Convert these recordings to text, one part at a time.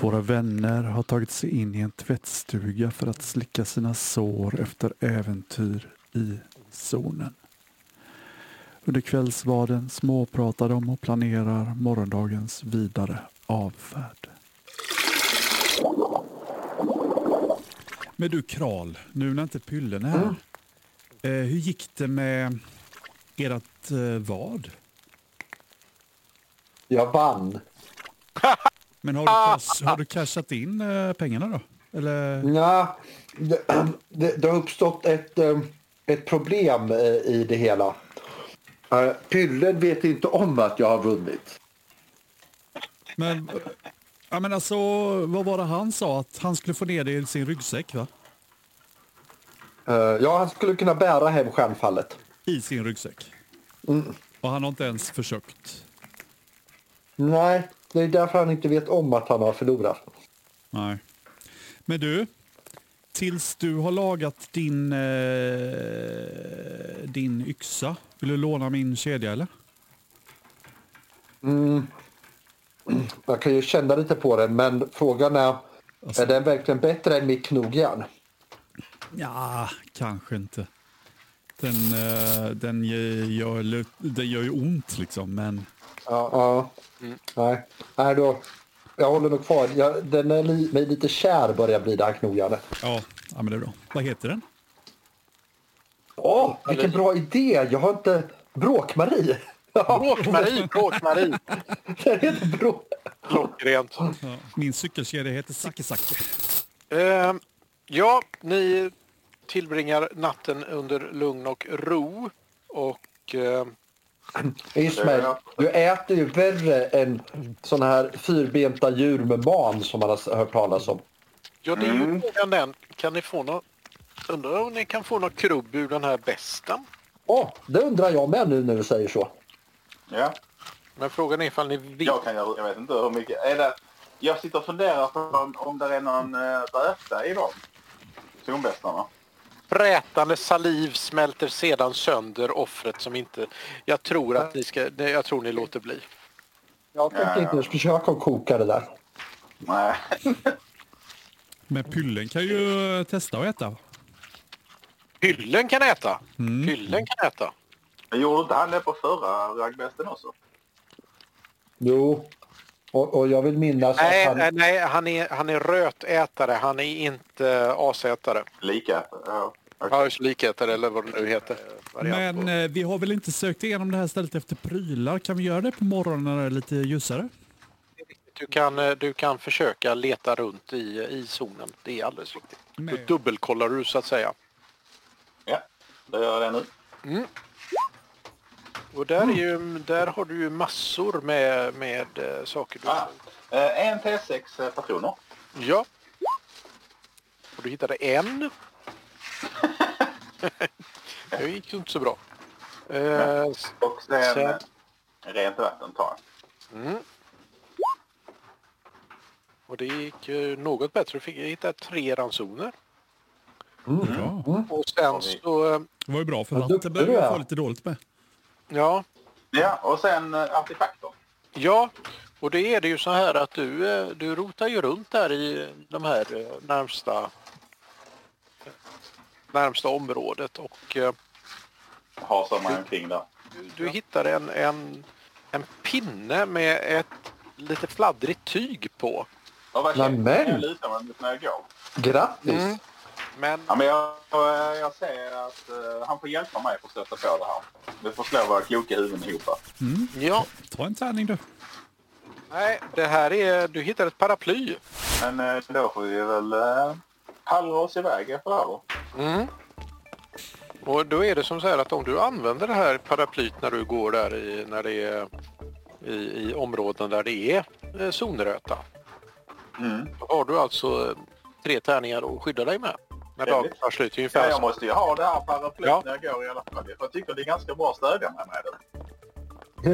några vänner har tagit sig in i en tvättstuga för att slicka sina sår efter äventyr i zonen. Under kvällsvaden småpratar de och planerar morgondagens vidare avfärd. Men du Kral, nu när inte Pyllen är här. Mm. Eh, hur gick det med ert eh, vad? Jag vann. Men har du, cash, har du cashat in eh, pengarna då? Eller? Nja, det, det, det har uppstått ett, eh, ett problem eh, i det hela. Eh, Pyllen vet inte om att jag har vunnit. Men, ja, men alltså, vad var det han sa? Att han skulle få ner det i sin ryggsäck, va? Eh, Ja, han skulle kunna bära hem stjärnfallet. I sin ryggsäck. Och han har inte ens försökt. Nej, det är därför han inte vet om att han har förlorat. Nej. Men du, tills du har lagat din, eh, din yxa, vill du låna min kedja eller? Man kan ju känna lite på den, men frågan är, är den verkligen bättre än mitt knogjärn? Ja, kanske inte. Den, eh, den, ge- gör, lu- den gör ju ont liksom, men... Ja. ja. Nej. Nej, då. Jag håller nog kvar. Jag, den är li, mig lite kär börjar bli det här knogjärnet. Ja, ja, men det är bra. Vad heter den? Åh, vilken bra idé! Jag har inte... Bråk-Marie! Ja, Bråk-Marie, Bråk-Marie. den heter Bråk... Klockrent. Ja. Min cykelkedja heter Sackesacke. Eh, ja, ni tillbringar natten under lugn och ro. Och eh, Ismail, Ja. du äter ju värre än såna här fyrbenta djur med man som man har hört talas om. ja, det är ju frågan den. Kan ni få något... Undrar om ni kan få något krubb ur den här besten? Åh, det undrar jag med nu när du säger så. Ja, Men frågan är ifall ni vill. jag kan göra, jag vet inte hur mycket. Är det, jag sitter och funderar på om, om det är någon eh, röta i dem. Zonbästarna. Frätande saliv smälter sedan sönder offret som inte... Jag tror att ni ska... nej, Jag tror ni låter bli. Jag tänkte Ja, ja. inte ens försöka att koka det där. Nej. Men pyllen kan ju eh, testa att äta. Hyllen kan äta. Hyllen kan äta. Men gjorde inte han det på förra raggbesten också? Jo, och, och jag vill minnas Nej, att nej, han... nej han, är, han är rötätare. Han är inte eh, asätare. Lika. Ja. Ja, just likätare eller vad det nu heter. Variant Men på- eh, vi har väl inte sökt igenom det här stället efter prylar? Kan vi göra det på morgonen när det är lite ljusare? Du, kan, eh, du kan försöka leta runt i, eh, i zonen. Det är alldeles riktigt. Då Nej. dubbelkollar du så att säga. ja, då gör jag det nu. Och där, är Mm. ju, där har du ju massor med, med eh, saker du... Ah, eh, en T6 eh, patroner. Ja. Och du hittade en. det gick ju inte så bra. Eh, s- Och sen, Sen- eh, rent vatten tar jag. och det gick ju något bättre. Du fick hitta tre ransoner. Bra. Och sen Har vi- så... eh, Det var ju bra för Vad vatten duktig börjar du vi är. få lite dåligt med. Ja, Ja, och sen eh, artefakter. Ja, och det är det ju så här att du, eh, du rotar ju runt där i de här eh, närmsta närmsta området och eh, Har sådana omkring där. du, du hittar en, en, en pinne med ett lite fladdrigt tyg på. Och vad Nej, känner men. jag? Jag lutar mig mot när jag går. Grattis! Mm. Men Ja, men jag, jag, jag säger att eh, han får hjälpa mig att stöta på det här. Vi får slå våra kloka huvuden ihop. här. ja, Ta en tärning du. nej, det här är, du hittar ett paraply. Men eh, då får vi väl eh, pallra oss iväg efter det här då. Mm. Och då är det som så här att om du använder det här paraplyt när du går där i, när det är, i, i områden där det är eh, zonröta. Mm. Då har du alltså eh, tre tärningar att skydda dig med. När dagen Trevligt. tar slut Ja, ungefär. jag så. måste ju ha det här paraplyet Ja. när jag går i alla fall. För jag tycker det är ganska bra att stödja mig med det.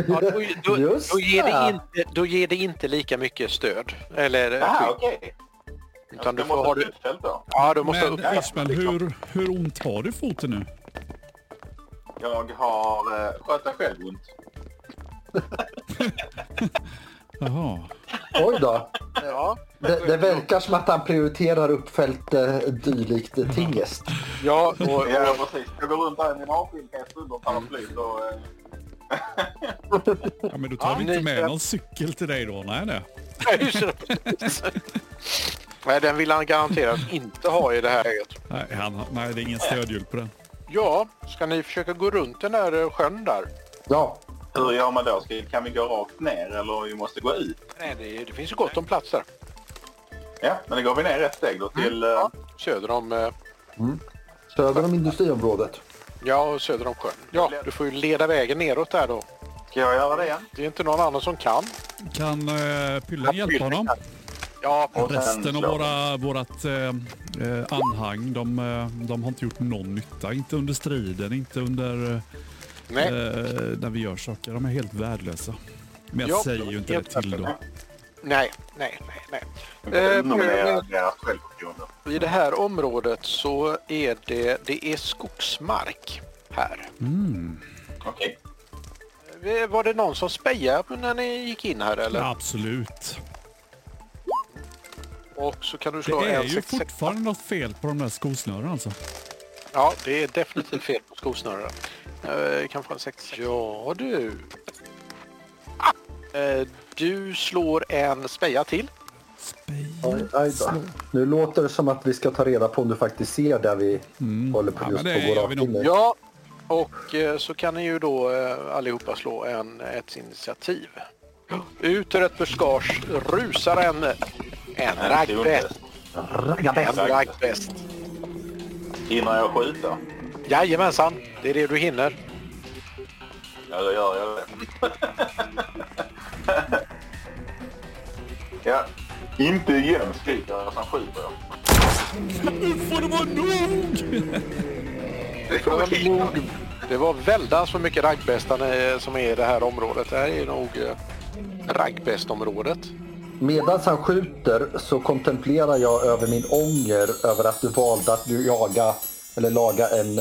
Ja, då, då, då, Just ger det det. inte, då ger det inte lika mycket stöd. Eller eh, Jaha, skydd. okej. Utan du Jag får måste ha ha det. skjutfält då. Ja, du måste ha Men upp. Ismail, hur, hur ont har du i foten nu? Jag har eh, sköta själv ont. Jaha. Oj då. Ja, Det, det verkar som att han prioriterar uppfällt eh, dylikt tingest. ja och, och, Mm. Ja, precis. Jag går runt här i min avskildhet under paraplyt och... eh, Ja, men då tar Ja, vi inte ni- med någon cykel till dig då. Nej, nej. Nej, just det. Nej, den vill han garanterat inte ha i det här läget. Nej, han, har- nej det är ingen stödhjul på den. Ja, ska ni försöka gå runt den där eh, sjön där? Ja, Hur gör man då? Ska, kan vi gå rakt ner eller vi måste gå ut? Nej, det, det finns ju gott om plats där. Ja, men då går vi ner ett steg då till... eh, Ja, söder om, eh, söder om industriområdet. ja, och söder om sjön. Ja, du får ju leda vägen neråt där då. Ska jag göra det igen? Det är inte någon annan som kan. Kan eh, Pyllen hjälpa honom? Ja, Och sen Resten av slår vi. våra, vårat eh, eh, anhang, de, eh, de har inte gjort någon nytta. Inte under striden, inte under eh, nej. eh, när vi gör saker. De är helt värdelösa. Men jag Ja, säger ju inte det helt till då. Nej, nej, nej, nej. Eh, Nominera deras självförtroende. I det här området så är det, det är skogsmark här. Okej. Eh, Var det någon som spejade när ni gick in här eller? Mm. Ja, absolut. Och så kan du slå Det är en ju sexa. fortfarande något fel på de där skosnörena alltså. Ja, det är definitivt fel på skosnörena. Eh, kan få en sex. Ja du. Ah! Eh, du slår en speja till. Aj, Spejel. aj då. Nu låter det som att vi ska ta reda på om du faktiskt ser där vi håller på Mm. Ja, just men på det vår gör vi nog. avskiljning. Ja. Och eh, så kan ni ju då eh, allihopa slå en, ett initiativ. Ut ur ett buskage rusar en, eh, en raggpest. En raggpest. Hinner jag skjuta? Jajamensan, det är det du hinner. Ja, då gör jag det. ja. Inte igen skriker jag, sen skjuter jag. Nu får det vara nog! Det var, nog, det var väldans för mycket raggbästar eh, som är i det här området. Det här är nog eh, raggbästområdet. Medan han skjuter så kontemplerar jag över min ånger över att du valde att du jaga eller laga en,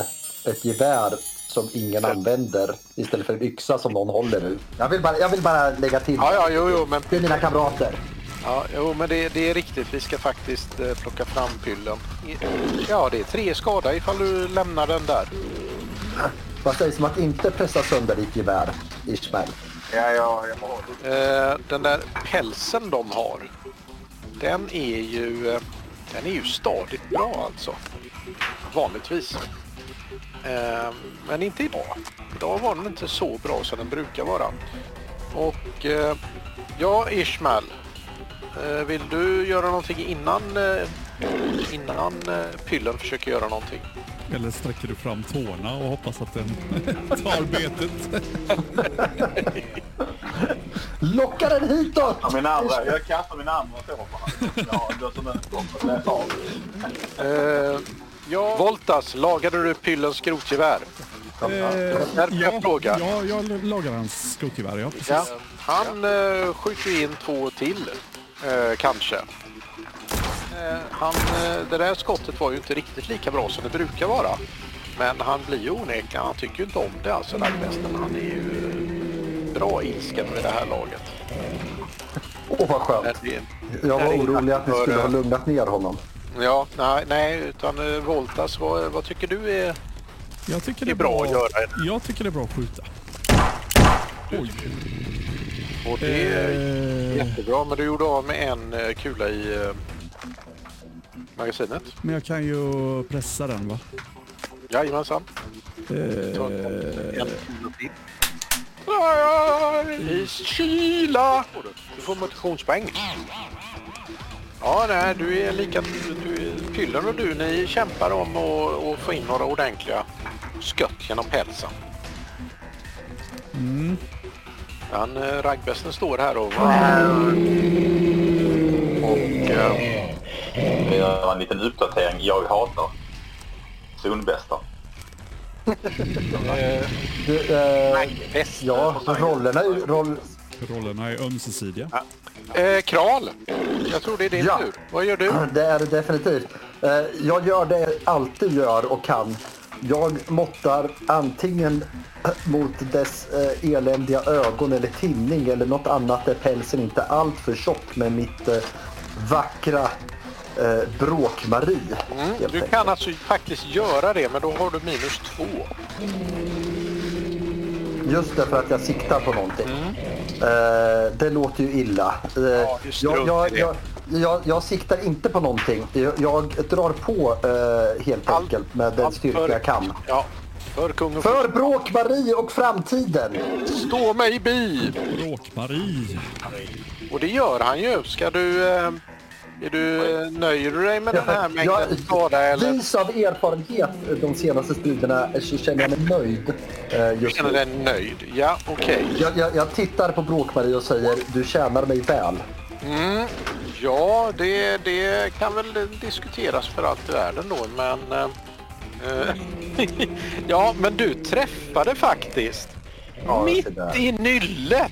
ett gevär som ingen använder istället för en yxa som någon håller nu. Jag vill bara, jag vill bara lägga till Ja, ja, jo, jo, men, till mina kamrater. ja, jo, men det, det är riktigt. Vi ska faktiskt eh, plocka fram pyllen. Ja, det är tre skada ifall du lämnar den där. Vad sägs om att inte pressa sönder ditt gevär, Ishmael? Ja, ja, jag har det. Eh, Den där pälsen de har, den är ju, eh, den är ju stadigt bra alltså. Vanligtvis. Eh, Men inte idag. Idag var den inte så bra som den brukar vara. Och eh, ja, Ishmael. eh, Vill du göra någonting innan, eh, innan eh, Pyllen försöker göra någonting? Eller sträcker du fram tårna och hoppas att den tar betet? Locka den hitåt! Ja, Min andra, jag kastar min andra tår på honom. Ja, då som den kommer. Den tar vi. Eh, Voltas, lagade du Pyllens skrotgevär? Eh, jag frågar. ja, jag lagar hans skotgevär. Ja, precis. Ja, han eh, skjuter in två till, eh, kanske. Eh, han, eh, det där skottet var ju inte riktigt lika bra som det brukar vara. Men han blir ju onekligen, han tycker ju inte om det alltså, Raggmästaren. Han är ju eh, bra ilsken med det här laget. Åh, vad Men skönt. det- Jag var det är- orolig att ni skulle eh, ha lugnat ner honom. Ja, nej, nej utan eh, Voltas, vad, vad tycker du är... Jag tycker Det är bra att göra Jag tycker det är bra att skjuta. Oj. Och det är Eh, jättebra, men du gjorde av med en eh, kula i eh, magasinet. men jag kan ju pressa den va? Jajamensan. Ta en kilo till. I kyla! Du får motionspoäng. Ja, nej, du är lika... Du, Pyllen och du, ni kämpar om att att få in några ordentliga skott genom pälsen. Han, eh, raggbesten står här och... Och... eh, Vi gör en liten uppdatering. Jag hatar zonbästa. Du, eh, Raggbesten. ja, rollerna... är- Roll... Rollerna är ömsesidiga. Eh, Kral! Jag tror det är din Ja. tur. Vad gör du? Det är det definitivt. Eh, Jag gör det jag alltid gör och kan. Jag måttar antingen mot dess eh, eländiga ögon eller tinning eller något annat där pälsen inte är alltför tjock med mitt eh, vackra eh, bråkmarie. helt Du enkelt. kan alltså faktiskt göra det, men då har du minus två. Just därför att jag siktar på någonting. Mm. Eh, det låter ju illa. Eh, det strunt jag, jag, i det. jag, jag, jag siktar inte på någonting. Jag, jag drar på eh, helt enkelt med den allt styrka för- jag kan. Ja, för kung och För bråk, Marie och framtiden! Stå mig bi! Bråk-Marie. Och det gör han ju. Ska du... eh, Är du eh, nöjer du dig med den här Jag, mängden skada eller vis av erfarenhet de senaste studierna så känner jag mig nöjd eh, just känner nu. dig nöjd? Ja, okej. Jag, jag, jag tittar på Bråk-Marie och säger du tjänar mig väl. Ja, det, det kan väl diskuteras för allt i världen då, men... eh, eh, ja, men du träffade faktiskt. Ja, jag ser Mitt det. i nyllet!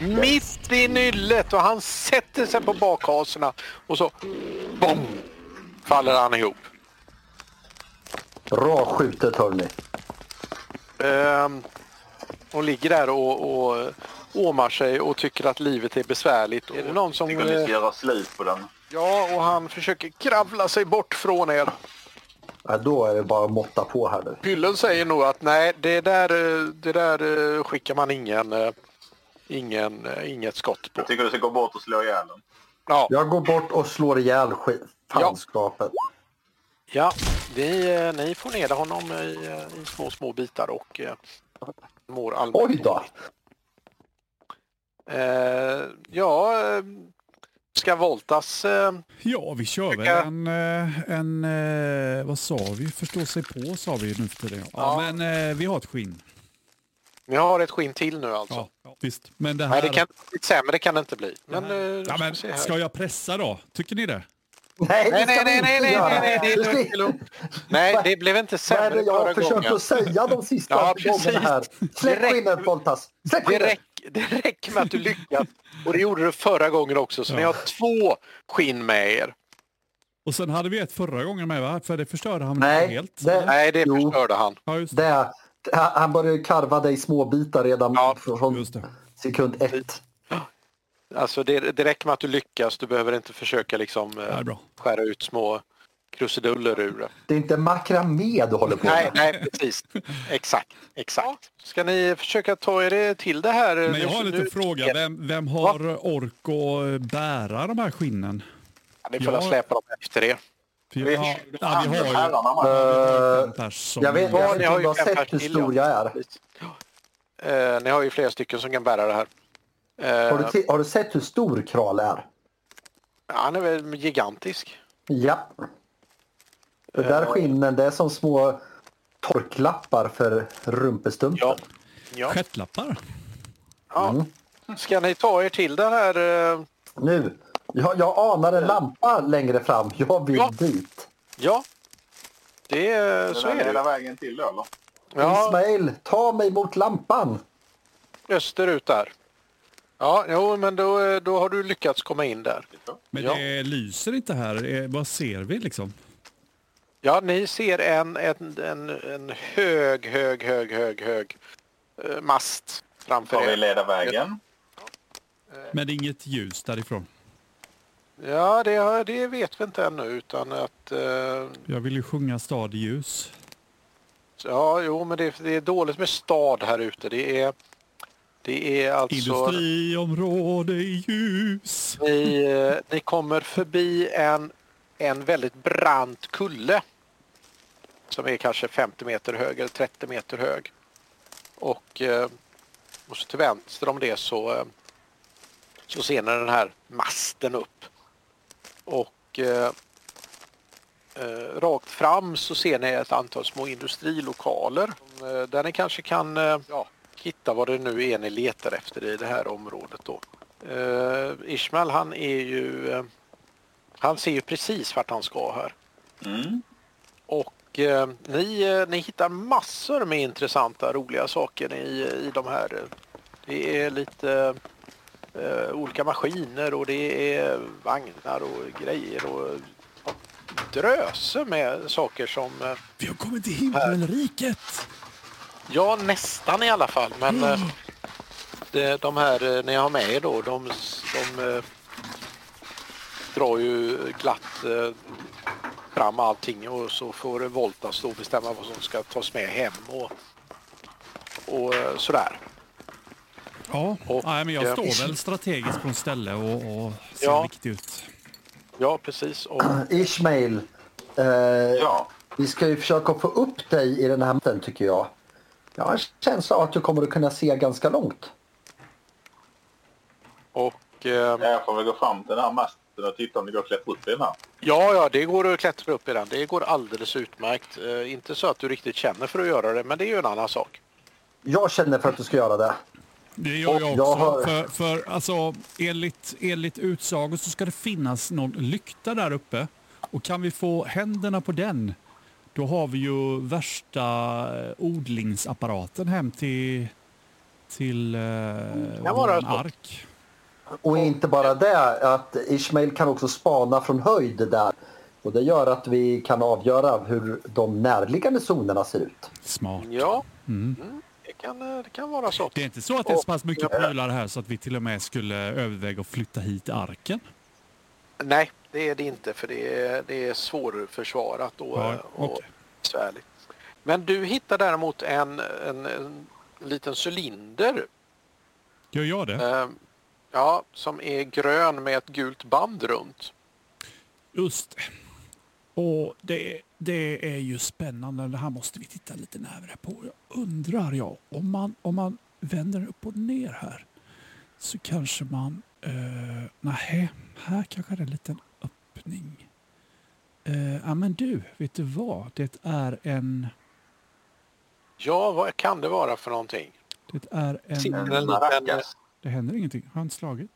Mitt i nyllet och han sätter sig på bakhasorna och så... Bom! Faller han ihop. Bra skjutet hörni. Ehm, och ligger där och, och åmar sig och tycker att livet är besvärligt. Är det någon som... Tycker ni eh, ska göra slut på den? Ja, och han försöker kravla sig bort från er. Ja, då är det bara att måtta på här nu. Pyllen säger nog att nej, det där, eh, det där eh, skickar man ingen, eh, ingen, eh, inget skott på. Jag tycker du ska gå bort och slå ihjäl den. Ja, Jag går bort och slår ihjäl skit. Fanskapet. ja ni, eh, ni får ner honom i, eh, i små, små bitar och eh, mår allmänt Oj då! Eh, ja, eh, ska Voltas... Eh, Ja, vi kör väl Tycker- en, eh, en... eh, Vad sa vi? Förstå sig på sa vi nu för tiden. Ja, Ja. men eh, vi har ett skinn. ni har ett skinn till nu alltså. Ja, visst. Men det här... Nej, det kan inte bli sämre kan det inte bli. Men, eh, ja, ska men, vi se här. ska jag pressa då? Tycker ni det? Nej, det Nej, ska nej, vi nej, inte nej, nej, göra. nej, nej, det är lugnt, det är lugnt. Nej, det blev Vad inte är sämre det jag förra har försökt gången. att säga de sista Ja, gångerna precis. här? Släpp Det räcker- skinnet Voltas! Släpp Det, skinnet! räck, det räcker med att du lyckas. Och det gjorde du förra gången också, så ni har två skinn med er. Och sen hade vi ett förra gången med va? För det förstörde han Nej, helt. det- Nej, det Jo. förstörde han. Ja, just det. Det, han han började ju karva dig i små bitar redan Ja, från just det. sekund ett. Alltså, det, det räcker med att du lyckas. Du behöver inte försöka liksom, eh, Det är bra. skära ut små krusiduller ur det. Det är inte makramé du håller på Nej, med. nej, precis. Exakt, exakt. Ska ni försöka ta er till det här? Men jag har en liten fråga. Vem, vem har ork att eh, bära de här skinnen? Ni får väl Ja. släpa dem efter er. För jag- ja, ja, vi har ju Eh. Herrarna, man. en person som... Jag vet jag vet ni inte har om ju du har fem sett hur till, stor ja. jag är. Eh, ni har ju flera stycken som kan bära det här. Eh, Har du, se- har du sett hur stor Kral är? Han är väl gigantisk. Ja. Det Eh. där skinnen, det är som små torklappar för rumpestumpen. Ja. ja. Stjärtlappar? ja. Ska ni ta er till den här? eh, Nu, jag, jag anar en lampa längre fram. Jag vill Ja. dit. Ja. Det är, så Den är är hela det. vägen till då, eller? Ja, Ismail, ta mig mot lampan. österut där. Ja, jo, men då, eh, då har du lyckats komma in där. Men Ja. det lyser inte här. Eh, Vad ser vi liksom? Ja, ni ser en, en, en, en hög, hög, hög, hög, hög eh, mast Tar framför vi er. leda vägen. Men det är inget ljus därifrån. Ja, det, har- det vet vi inte ännu utan att... eh, Jag vill ju sjunga stad i ljus. Ja, jo, men det, det är dåligt med stad här ute. Det är, det är alltså... Industriområde i ljus. Ni, eh, ni kommer förbi en, en väldigt brant kulle. Som är kanske 50 meter hög eller 30 meter hög. Och, eh, och så till vänster om det så, eh, så ser ni den här masten upp. Och eh, eh, rakt fram så ser ni ett antal små industrilokaler. Eh, där ni kanske kan eh, ja, hitta vad det nu är ni letar efter i det här området då. Eh, Ismail han är ju... eh, han ser ju precis vart han ska här. Mm. Och eh, ni, eh, ni hittar massor med intressanta, roliga saker i, i de här. eh, Det är lite eh, olika maskiner och det är vagnar och grejer och dröse med saker som... eh, Vi har kommit till himmelriket! Ja, nästan i alla fall. Men eh, det, de här eh, ni har med er då, de, s- de eh, drar ju glatt eh, fram allting och så får eh, Volta stå och bestämma vad som ska tas med hem och, och eh, sådär. Ja, Och- Nej, men Ja. jag står väl strategiskt på en ställe och, och ser Ja. viktig ut. Ja, precis. Och, Ishmael, eh, Ja. vi ska ju försöka få upp dig i den här matchen tycker jag. Jag har en känsla av att du kommer att kunna se ganska långt. och eh, Ja, Jag får väl gå fram till den här masten och titta om det går att klättra upp i den här. Ja, ja, det går att klättra upp i den. Det går alldeles utmärkt. Eh, inte så att du riktigt känner för att göra det, men det är ju en annan sak. Jag känner för att du ska göra det. Det gör jag Och också. jag har- För, för alltså, enligt, enligt utsago så ska det finnas någon lykta där uppe. Och kan vi få händerna på den, då har vi ju värsta eh, odlingsapparaten hem till, till eh, våran kan vara så. ark. Och inte bara det, att Ishmael kan också spana från höjd där. Och det gör att vi kan avgöra hur de närliggande zonerna ser ut. Smart. Ja, Mm, det, kan, eh, det kan vara så. Det är inte så att det är så pass mycket prylar här så att vi till och med skulle överväga att flytta hit arken? Nej, det är det inte, för det är, det är svårförsvarat och, Ja, eh, och okej. besvärligt. Men du hittar däremot en, en, en liten cylinder Gör jag det? eh, ja, som är grön med ett gult band runt. Just det. Och det, det är ju spännande. Det här måste vi titta lite närmare på. Jag undrar jag, om man, om man vänder upp och ner här så kanske man... Uh, nej, här kanske det är en liten öppning. Eh, ja, men du, vet du vad? Det är en... Ja, vad kan det vara för någonting? Det Mm. är en... Sitter en liten, Mm. Maracas. Det händer ingenting. Har han slagit?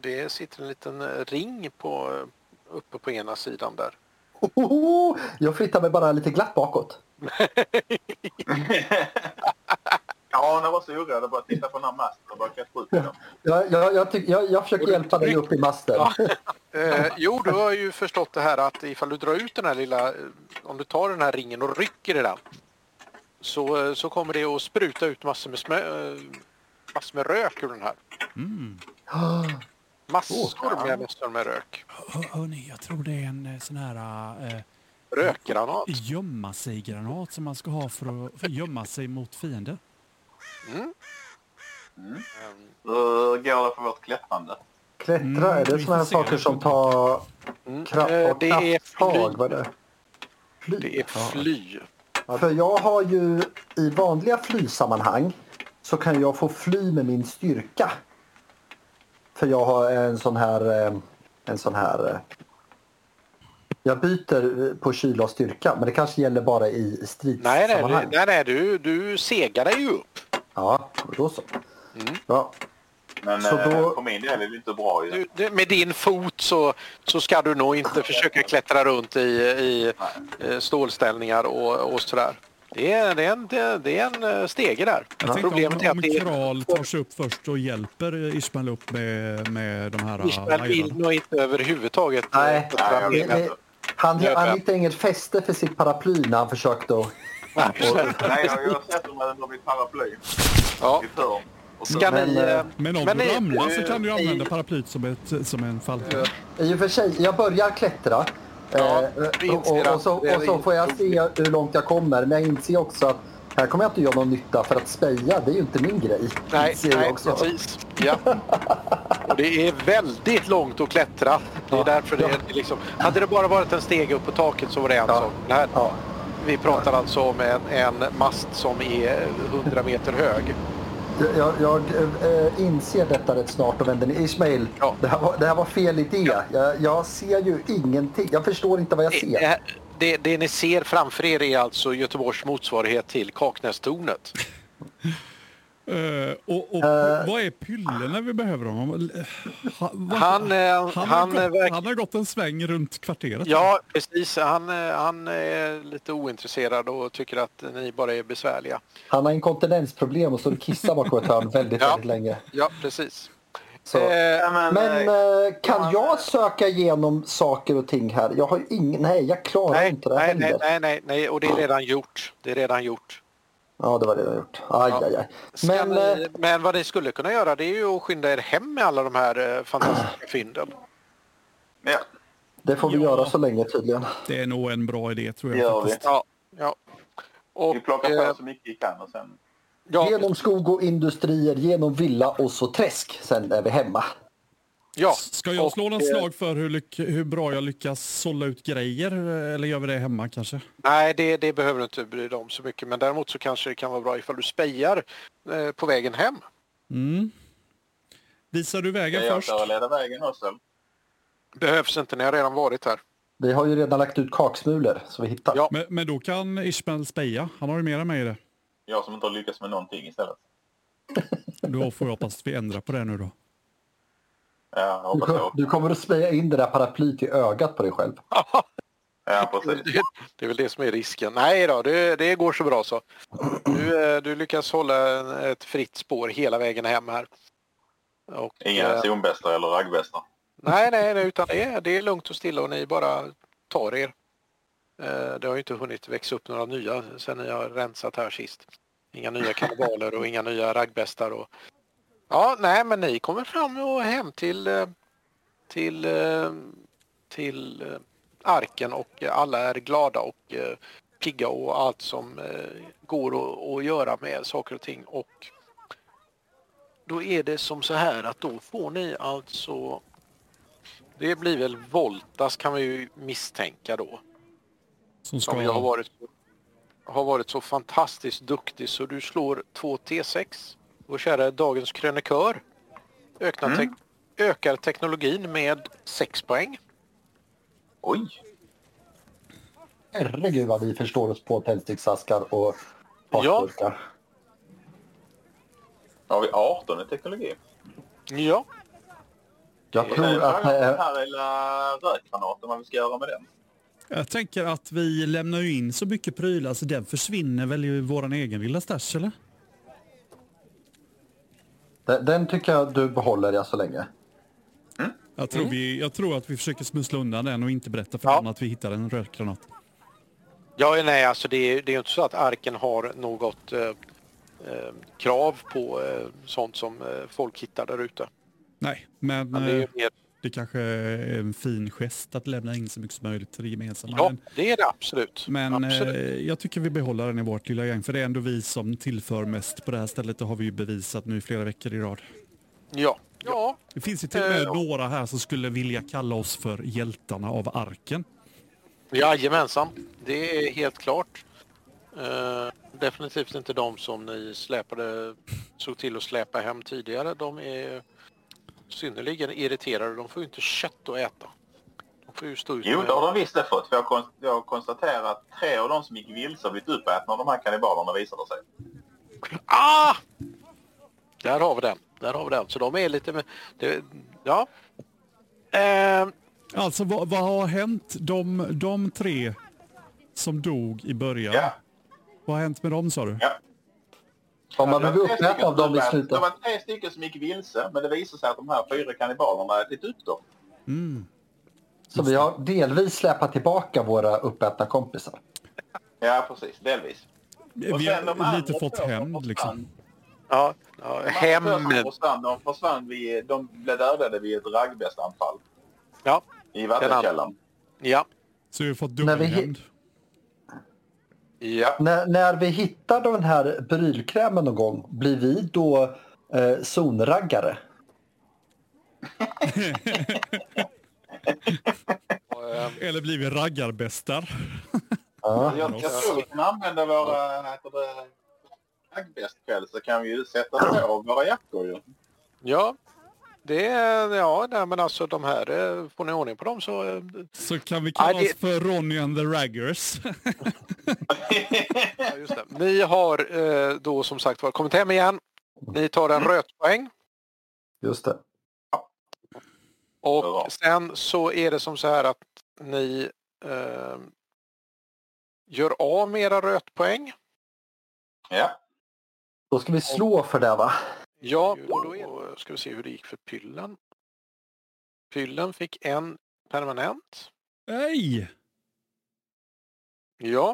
det sitter en liten eh, ring på, eh, uppe på ena sidan där. Ohoho! Jag flyttar mig bara lite glatt bakåt. Ja, jag var så orädd och bara titta på den här masten och bara klättra upp i den. Jag, jag, jag, tyck- jag, jag försöker hjälpa dig upp i masten. Eh, jo, du har ju förstått det här att ifall du drar ut den här lilla, eh, om du tar den här ringen och rycker i den så, eh, så kommer det att spruta ut massor med, smö, eh, massor med rök ur den här. Massor med, massor med rök. Hör, hörni, jag tror det är en eh, sån här... eh, Rökgranat. gömma sig-granat som man ska ha för att, för att gömma sig mot fiender. Hur går det för vårt klättrande? Klättra, är det vi såna här får se. saker som tar Mm, kraft eh, och det, är krafttag? fly, Vad är det? Fly. det är fly. För jag har ju i vanliga flysammanhang så kan jag få fly med min styrka. För jag har en sån här... eh, En sån här eh, jag byter eh, på kyla och styrka men det kanske gäller bara i Nej, nej, stridssammanhang. nej, nej, nej du, du segar dig ju upp. Ja, då så. Mm. Ja, Men Så då- eh, på min del är det inte bra ju. Du, du, med din fot så, så ska du nog inte försöka klättra runt i, i eh, stålställningar och, och sådär. Det är, det, är en, det, det är en eh, stege där. Jag tänkte Problemet är om, att om det är Kral tar sig upp först och hjälper eh, Ismail upp med, med de här... eh, Ismael vill lajrarna. nog inte överhuvudtaget eh, Nej. klättra Nej, Det- ner. det- Han, Jag han med. hittade inget fäste för sitt paraply när han försökte att... Nej, jag jag har sett dem under mitt paraply Ja. i förr. Ska Men, ni... eh, eh, Men om ni- du ramlar så eh, kan du ni- använda paraplyt som, ett, eh, som en fall. I och för sig, jag börjar klättra. Ja, Eh, det och, inser och, jag. och, så, Det är och så får jag se hur långt jag kommer. Men jag inser också att här kommer jag inte göra någon nytta för att speja, det är ju inte min grej. Nej, Inser jag nej också. precis. Ja. Och det är väldigt långt att klättra. Det är därför det är liksom... Hade det bara varit en steg upp på taket så var det en sak. Det här, Ja. Vi pratar alltså om en, en mast som är 100 meter hög. Jag, jag, jag eh, inser detta rätt snart och vänder ner. Ismail, Ja. det, här var, det här var fel idé. Jag, jag ser ju ingenting. Jag förstår inte vad jag Det, ser. här- det, det ni ser framför er är alltså Göteborgs motsvarighet till Kaknästornet. Eh, och, och vad är pyllerna vi behöver honom? Ha, va- Han, eh, han, han, har eh, gått, verk- han har gått en sväng runt kvarteret. Ja, precis. Han, eh, han är lite ointresserad och tycker att ni bara är besvärliga. Han har inkontinensproblem och står och kissar bakom ett hörn väldigt, Ja. väldigt länge. Ja, precis. Så. Ja, men, Men eh, eh, kan man- jag söka igenom saker och ting här? Jag har ju ingen... Nej, jag klarar Nej, inte det nej, heller. nej, nej, nej, nej, och det är redan gjort. Det är redan gjort. Ja, det var det jag gjort. Aj, Ja. aj, aj. Ska Men eh, ni, men vad ni skulle kunna göra det är ju att skynda er hem med alla de här eh, fantastiska fynden. Ja, det får vi Ja. göra så länge tydligen. Det är nog en bra idé tror det jag. gör faktiskt. vi. Ja. ja. Och, Vi plockar eh, på så mycket vi kan och sen... ja, Genom skog och industrier, genom villa och så träsk. Sen är vi hemma. ja. Ska jag Och, slå en eh, slag för hur, lyck- hur bra jag lyckas sålla ut grejer? Eller gör vi det hemma kanske? Nej, det, det behöver du inte bry dig om så mycket. Men däremot så kanske det kan vara bra ifall du spejar eh, på vägen hem. Mm. Visar du vägen Ska jag först? köra leda vägen också? Behövs inte, ni har redan varit här. Vi har ju redan lagt ut kaksmulor så vi hittar. Ja. Men, men då kan Ishmael speja. Han har ju mer än mig i det. Jag som inte har lyckats med någonting istället. Då får jag hoppas att vi ändrar på det nu då. Ja, jag Du, hoppas kom- så. du kommer att speja in det där paraplyt i ögat på dig själv. Ja, Det, precis. det är väl det som är risken. Nej då, det, det går så bra så. Du, eh, du lyckas hålla en- ett fritt spår hela vägen hem här. Och, eh, Inga zonbästar eller raggbästar. nej, nej, nej, utan det, är- det är lugnt och stilla och ni bara tar er. Eh, Det har ju inte hunnit växa upp några nya sen ni har rensat här sist. Inga nya kannibaler och inga nya raggbästar. Och... Ja, nej, men ni kommer fram och hem till eh, till eh, till eh, arken och alla är glada och eh, pigga och allt som eh, går att, att göra med saker och ting. Och då är det som så här att då får ni alltså det blir väl Voltas kan vi ju misstänka då. Som ska... Som jag har varit, har varit så fantastiskt duktig så du slår 2 T6. Och kära dagens krönikör öknar, Mm. tek- ökar teknologin med 6 poäng. Oj! Herregud vad vi förstår oss på tändsticksaskar och Ja. pasturkar. Har vi 18 i teknologi? Ja, Jag Eh, tror att... frågan om den eh, här lilla rökgranaten, vad vi ska göra med den. Jag tänker att vi lämnar ju in så mycket prylar så den försvinner väl i vår egen lilla stash eller? den- Den tycker jag du behåller jag så länge. Jag tror, vi, jag tror att vi försöker smussla undan den och inte berätta för Mm. Ja. någon att vi hittar en rökgranat. ja nej alltså det är, det är ju inte så att arken har något eh, eh, krav på eh, sånt som eh, folk hittar där ute. Nej, men Men det är ju eh, mer, det kanske är en fin gest att lämna in så mycket som möjligt till det gemensamma. ja, Men- det är det absolut. Men absolut. eh, jag tycker vi behåller den i vårt lilla gäng för det är ändå vi som tillför mest på det här stället. Det har vi ju bevisat nu i flera veckor i rad. Ja. ja, Det finns ju till och med Eh, några här som skulle vilja kalla oss för hjältarna av arken. Jajamensan, det är helt klart. Eh, definitivt inte de som ni släpade, såg till att släpa hem tidigare. De är synnerligen irriterade. De får ju inte kött att äta. De får ju stå ut Jo, med... det har de visst det fått. För jag, kon- jag konstaterar att tre av de som gick vilse har blivit uppätna av de här kannibalerna visade sig. Ah! Där har vi den. Där har vi den. Så de är lite... Med... Det... Ja. Eh, Alltså vad, vad har hänt? De, de tre som dog i början, Ja. vad har hänt med dem sa du? Ja. Om man Det var blev tre uppäten stycken av dem i som- slutet. Det var tre stycken som gick vilse, men det visade sig att de här fyra kannibalerna hade ätit upp dem. Så vi har delvis släpat tillbaka våra uppätna kompisar. Ja, precis. Delvis. Och Vi sen de andra har lite fått två som hämnd försvann. liksom. ja, ja, De andra två som hem. Försvann, de försvann vid, de blev dödade vid ett raggbestanfall Ja, i vattenkällan. ja, Så vi har fått När vi hit- dubbelhämnd. ja. När, när vi hittar den här brylkrämen någon gång, blir vi då eh, zonraggare? Eh, Eller blir vi raggarbästar? Ja. Jag, jag tror vi kan använda våra heter det, raggbästkväll så kan vi ju sätta på våra jackor ju. Ja, det är, ja, nej, men alltså de här, eh, får ni ordning på dem så... eh, Så kan vi kalla Ja, det- oss för Ronny and the Raggers. Ja, just det. Ni har eh, då som sagt var kommit hem igen. Ni tar en rötpoäng Just det. och Bra. sen så är det som så här att ni eh, gör av med era rötpoäng. Ja, Då ska vi slå för det va? Ja, och då är det, ska vi se hur det gick för Pyllen. Pyllen fick en permanent. Nej! Ja,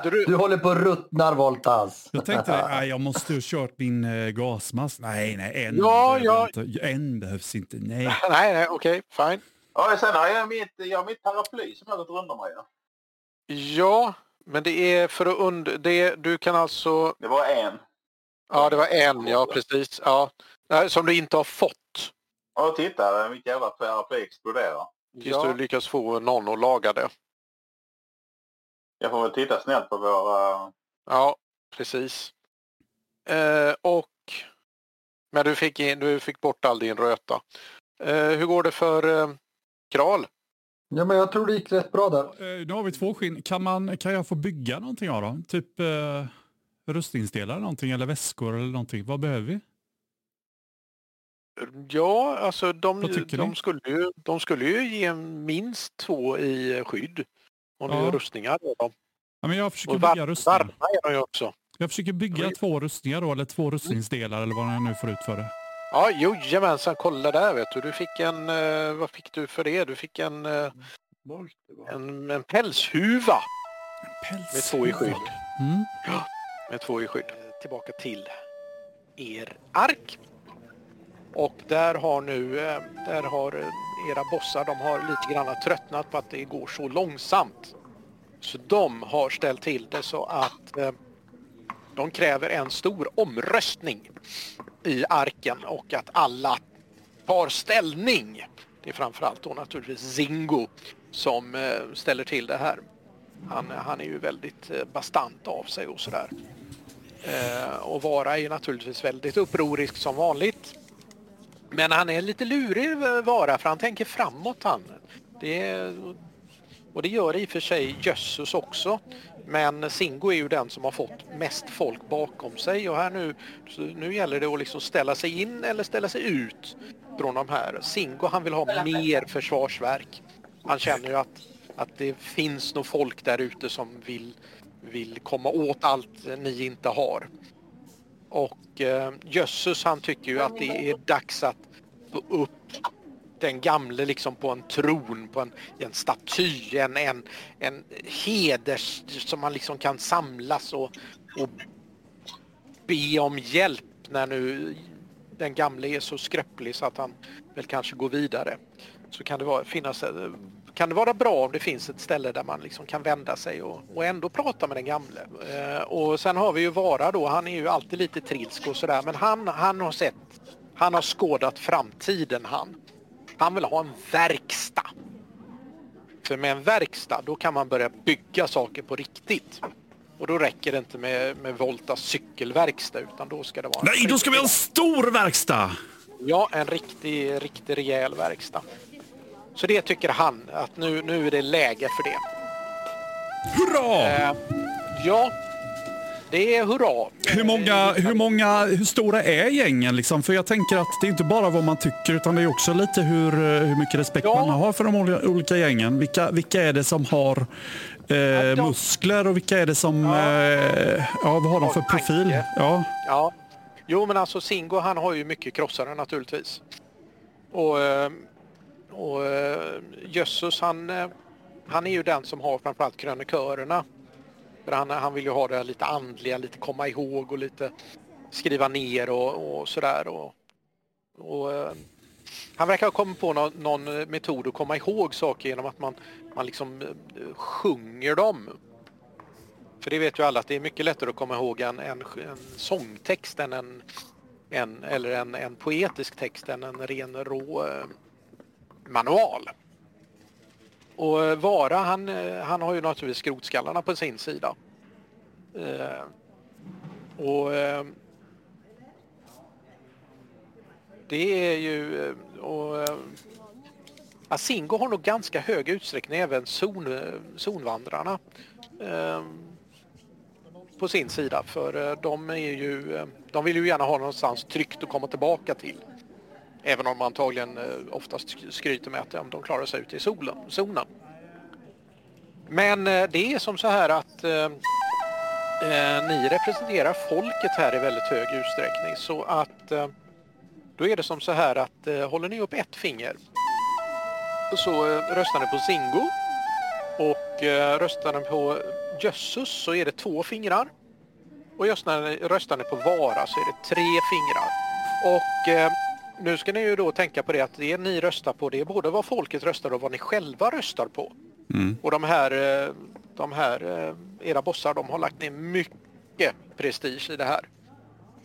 du... håller på och ruttnar Voltas. Jag tänkte det. Nej, jag måste ju ha kört min eh, gasmask. Nej, nej, en Ja, behöver ja. inte. En behövs inte. Nej. nej, nej, okej, fine. Ja, sen har jag mitt, jag har mitt paraply som jag har gått runt om här. ja. Ja, men det är för att und... Det är, du kan alltså... Det var en. Ja, det var en, ja precis. Ja. Nej, Som du inte har fått. Ja, titta. Mitt jävla paraply exploderar. Tills Ja. du lyckas få någon att laga det. Jag får väl titta snällt på våra... Ja, precis. Eh, och... Men du fick, in, du fick bort all din röta. Eh, hur går det för eh, Kral? Ja, men jag tror det gick rätt bra där. Eh, Nu har vi två skinn. Kan, man, kan jag få bygga någonting av dem? Typ eh, rustningsdelar eller någonting eller väskor eller någonting. Vad behöver vi? Ja, alltså de, Vad tycker de, ni? skulle ju, de skulle ju ge minst två i eh, skydd. Om du Ja. gör rustningar. av dem. Ja, men jag försöker Och bygga var, rustning. varma är de ju också. Jag försöker bygga Oj. två rustningar då, eller två rustningsdelar eller vad jag nu får ut för det. Ja, jojamensan, kolla där vet du. Du fick en, eh, vad fick du för det? Du fick en, eh, en, en pälshuva Päls. med två i skydd. Mm. Med två i skydd. Tillbaka till er ark. Och där har nu, eh, där har eh, era bossar, de har lite grann tröttnat på att det går så långsamt. Så de har ställt till det så att eh, de kräver en stor omröstning i arken och att alla tar ställning. Det är framförallt då naturligtvis Zingo som eh, ställer till det här. Han, han är ju väldigt eh, bastant av sig och sådär. Eh, och Vara är ju naturligtvis väldigt upprorisk som vanligt. Men han är lite lurig eh, Vara för han tänker framåt han. Det är, och det gör i och för sig Jösses också. Men Singo är ju den som har fått mest folk bakom sig och här nu, så nu gäller det att liksom ställa sig in eller ställa sig ut från de här. Singo han vill ha mer försvarsverk. Han känner ju att, att det finns nog folk där ute som vill, vill komma åt allt ni inte har. Och eh, Jösses han tycker ju att det är dags att få upp den gamle liksom på en tron, på en, en staty, en, en, en heders som man liksom kan samlas och, och be om hjälp när nu den gamle är så skröplig så att han väl kanske går vidare. Så kan det vara, finnas, kan det vara bra om det finns ett ställe där man liksom kan vända sig och, och ändå prata med den gamle. Eh, och sen har vi ju Vara då, han är ju alltid lite trilsk och sådär men han, han har sett, han har skådat framtiden han. Han vill ha en verkstad. För med en verkstad då kan man börja bygga saker på riktigt. Och då räcker det inte med, med Voltas cykelverkstad utan då ska det vara... en Nej, då ska vi ha en riktig- stor verkstad! Ja, en riktig, riktig rejäl verkstad. Så det tycker han att nu, nu är det läge för det. Hurra! Eh, ja, det är hurra. Hur många, Eh, hur många, hur stora är gängen liksom? För jag tänker att det är inte bara vad man tycker utan det är också lite hur, eh, hur mycket respekt Ja. man har för de olika- olika gängen. Vilka, vilka är det som har eh, de- muskler och vilka är det som, ja, eh, ja vad har de för Har tanke. profil? Ja. Ja. Jo, men alltså Singo han har ju mycket krossare naturligtvis. Och, eh, och eh, Jösses han, eh, han är ju den som har framförallt krönikörerna. För han, han vill ju ha det här lite andliga, lite komma ihåg och lite skriva ner och, och sådär. Och, och, eh, han verkar ha kommit på någon, någon metod att komma ihåg saker genom att man, man liksom eh, sjunger dem. För det vet ju alla att det är mycket lättare att komma ihåg en, en, en sångtext än en, en, eller en, en poetisk text än en ren rå eh, manual. Och eh, Vara han, eh, han har ju naturligtvis skrotskallarna på sin sida. Eh, och eh, det är ju... eh, Och, eh, Asingo har nog ganska hög utsträckning även zon, eh, zonvandrarna. Eh, på sin sida för eh, de, är ju, eh, de vill ju gärna ha någonstans tryggt att komma tillbaka till. Även om man antagligen eh, oftast sk- skryter med att ja, men de klarar sig ute i solen, zonen. Men eh, det är som så här att eh, eh, ni representerar folket här i väldigt hög utsträckning så att eh, Då är det som så här att eh, håller ni upp ett finger så eh, röstar ni på Zingo. Och eh, röstar ni på Jössus så är det två fingrar. Och röstar ni, röstar ni på Vara så är det tre fingrar. Och eh, nu ska ni ju då tänka på det att det ni röstar på det är både vad folket röstar och vad ni själva röstar på. Mm. Och de här, eh, de här, eh, era bossar, de har lagt ner mycket prestige i det här.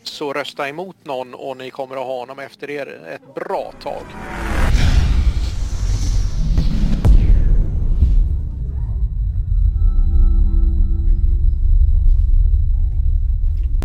Så rösta emot någon och ni kommer att ha honom efter er ett bra tag.